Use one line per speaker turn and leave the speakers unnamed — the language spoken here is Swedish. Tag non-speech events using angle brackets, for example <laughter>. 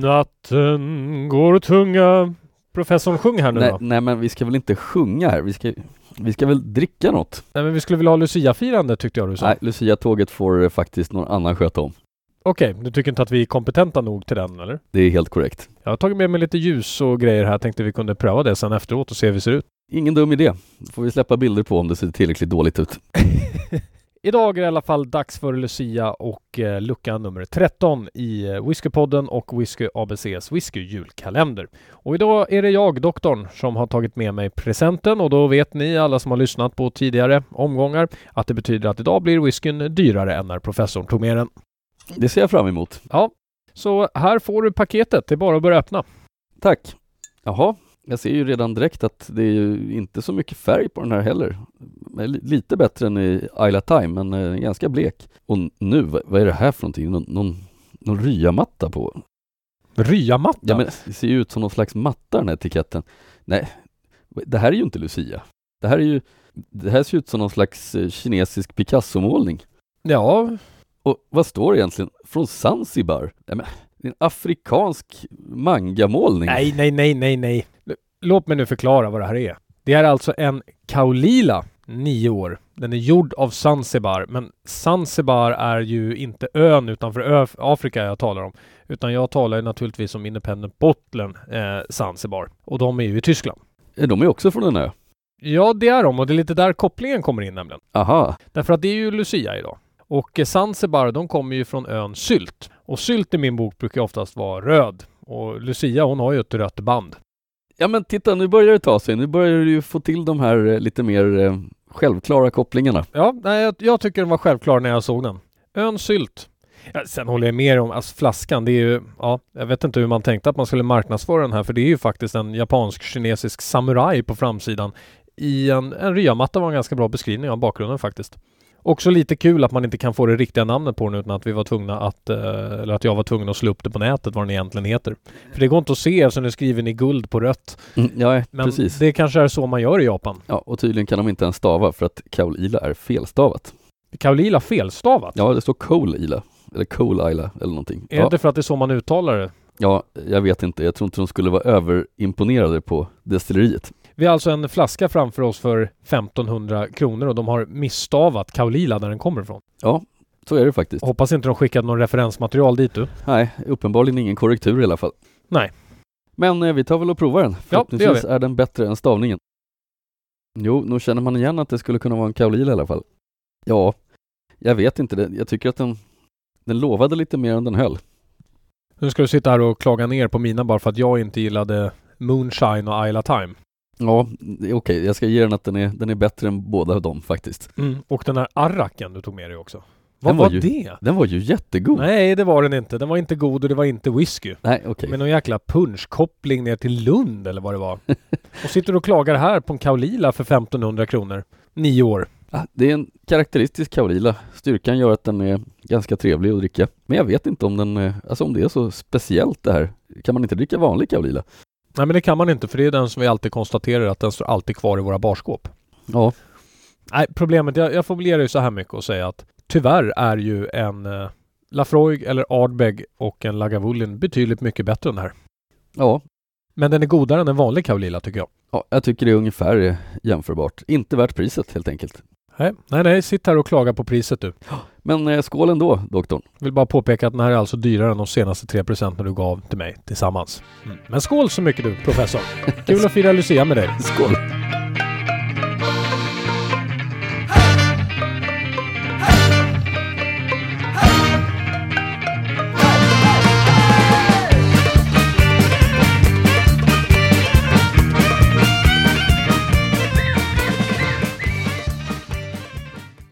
Natten går tunga. Professorn, sjung här nu
Nej,
då.
nej men vi ska väl inte sjunga här, vi ska, vi ska väl dricka något?
Nej, men vi skulle vilja ha Lucia-firande tyckte jag du sa.
Nej, Lucia-tåget får eh, faktiskt någon annan sköta om.
Okej, du tycker inte att vi är kompetenta nog till den eller?
Det är helt korrekt.
Jag har tagit med mig lite ljus och grejer här. Tänkte vi kunde pröva det sen efteråt och se hur det ser ut.
Ingen dum idé. Då får vi släppa bilder på om det ser tillräckligt dåligt ut.
Idag är det i alla fall dags för Lucia och eh, lucka nummer 13 i eh, Whiskypodden och Whisky ABCs whiskyjulkalender. Och idag är det jag, doktorn, som har tagit med mig presenten och då vet ni alla som har lyssnat på tidigare omgångar att det betyder att idag blir whiskyn dyrare än när professorn tog med den.
Det ser jag fram emot.
Så här får du paketet, det är bara att börja öppna.
Tack. Jaha, jag ser ju redan direkt att det är ju inte så mycket färg på den här heller. Men li- Lite bättre än i Isla Time, men eh, ganska blek. Och nu, vad vad är det här för någonting? Någon, någon, någon ryamatta på?
Ryamatta?
Ja, men det ser ju ut som någon slags matta den här etiketten. Nej, det här är ju inte Lucia. Det här är ju, det här ser ut som någon slags eh, kinesisk Picasso-målning.
ja,
Och vad står det egentligen? Från Zanzibar? Nej, men, det är en afrikansk mangamålning.
nej, nej, nej, nej, nej. L- Låt mig nu förklara vad det här är. Det är alltså en kaolila, nio år. Den är gjord av Zanzibar, men Zanzibar är ju inte ön utanför ö- Afrika jag talar om, utan jag talar ju naturligtvis om Independent Bottlen, eh, Zanzibar, och de är ju i Tyskland.
Eh, De är också från en ö.
Ja, det är de, och det är lite där kopplingen kommer in nämligen.
Aha,
Därför att det är ju Lucia idag. Och eh, Zanzibar, de kommer ju från ön Sylt. Och Sylt i min bok brukar ju oftast vara röd. Och Lucia, hon har ju ett rött band.
ja men titta nu börjar det ta sig. Nu börjar du ju få till de här eh, lite mer eh, självklara kopplingarna.
Ja, nej, jag, jag tycker den var självklar när jag såg den. Ön Sylt. Ja, sen håller jag med om, alltså flaskan, det är ju, ja, jag vet inte hur man tänkte att man skulle marknadsföra den här, för det är ju faktiskt en japansk-kinesisk samuraj på framsidan. I en, en ryamatta var en ganska bra beskrivning av bakgrunden faktiskt. Också lite kul att man inte kan få det riktiga namnet på den utan att vi var tvungna att, eh, eller att jag var tvungen att slå upp det på nätet vad den egentligen heter. För det går inte att se eftersom den är skriven i guld på rött.
Mm, ja,
Men
precis.
det kanske är så man gör i Japan.
Ja, och tydligen kan de inte ens stava för att Kaolila är felstavat.
Kaolila felstavat.
Ja, det står Coal-Ila. Eller Coal-Ila eller någonting.
Är
ja,
det för att det är så man uttalar det?
ja, jag vet inte. Jag tror inte de skulle vara överimponerade på destilleriet.
Vi har alltså en flaska framför oss för 1500 kronor och de har misstavat Kaolila där den kommer ifrån.
Så är det faktiskt.
Hoppas inte de skickade någon referensmaterial dit du.
Nej, uppenbarligen ingen korrektur i alla fall.
Nej.
Men eh, vi tar väl och provar den.
Ja, det gör vi.
Förhoppningsvis är den bättre än stavningen. Jo, nu känner man igen att det skulle kunna vara en Kaolila i alla fall. Ja, jag vet inte. det. Jag tycker att den, den lovade lite mer än den höll.
Nu ska du sitta här och klaga ner på mina bara för att jag inte gillade Moonshine och Isla Time.
Ja, det är okej. Jag ska ge den att den är, den är bättre än båda dem faktiskt.
Och den här arraken du tog med dig också. Vad
Mm. Den var
var,
ju-
det?
Den var ju jättegod.
Nej, det var den inte. Den var inte god och det var inte whisky.
Nej, okej.
Med någon jäkla punschkoppling ner till Lund eller vad det
<laughs>
var. och sitter och klagar här på en Kaolila för 1500 kronor. Nio år.
Ah, Det är en karaktäristisk kaolila. Styrkan gör att den är ganska trevlig att dricka. Men jag vet inte om den, eh, alltså om det är så speciellt det här. Kan man inte dricka vanlig kaolila?
Nej men det kan man inte för det är den som vi alltid konstaterar att den står alltid kvar i våra barskåp.
Ja,
Nej, problemet, jag, jag får väl ge dig så här mycket och säga att tyvärr är ju en eh, Lafroig eller Ardbeg och en Lagavulin betydligt mycket bättre än den här.
ja,
Men den är godare än en vanlig Kaolila tycker jag.
ja, jag tycker det är ungefär eh, jämförbart. Inte värt priset helt enkelt.
Nej, nej, nej, sitt här och klaga på priset du.
Men eh, skål ändå, doktorn.
Vill bara påpeka att den här är alltså dyrare än de senaste 3 procenten du gav till mig tillsammans. Mm. Men skål så mycket du, professor. Kul att fira Lucia med dig.
Skål!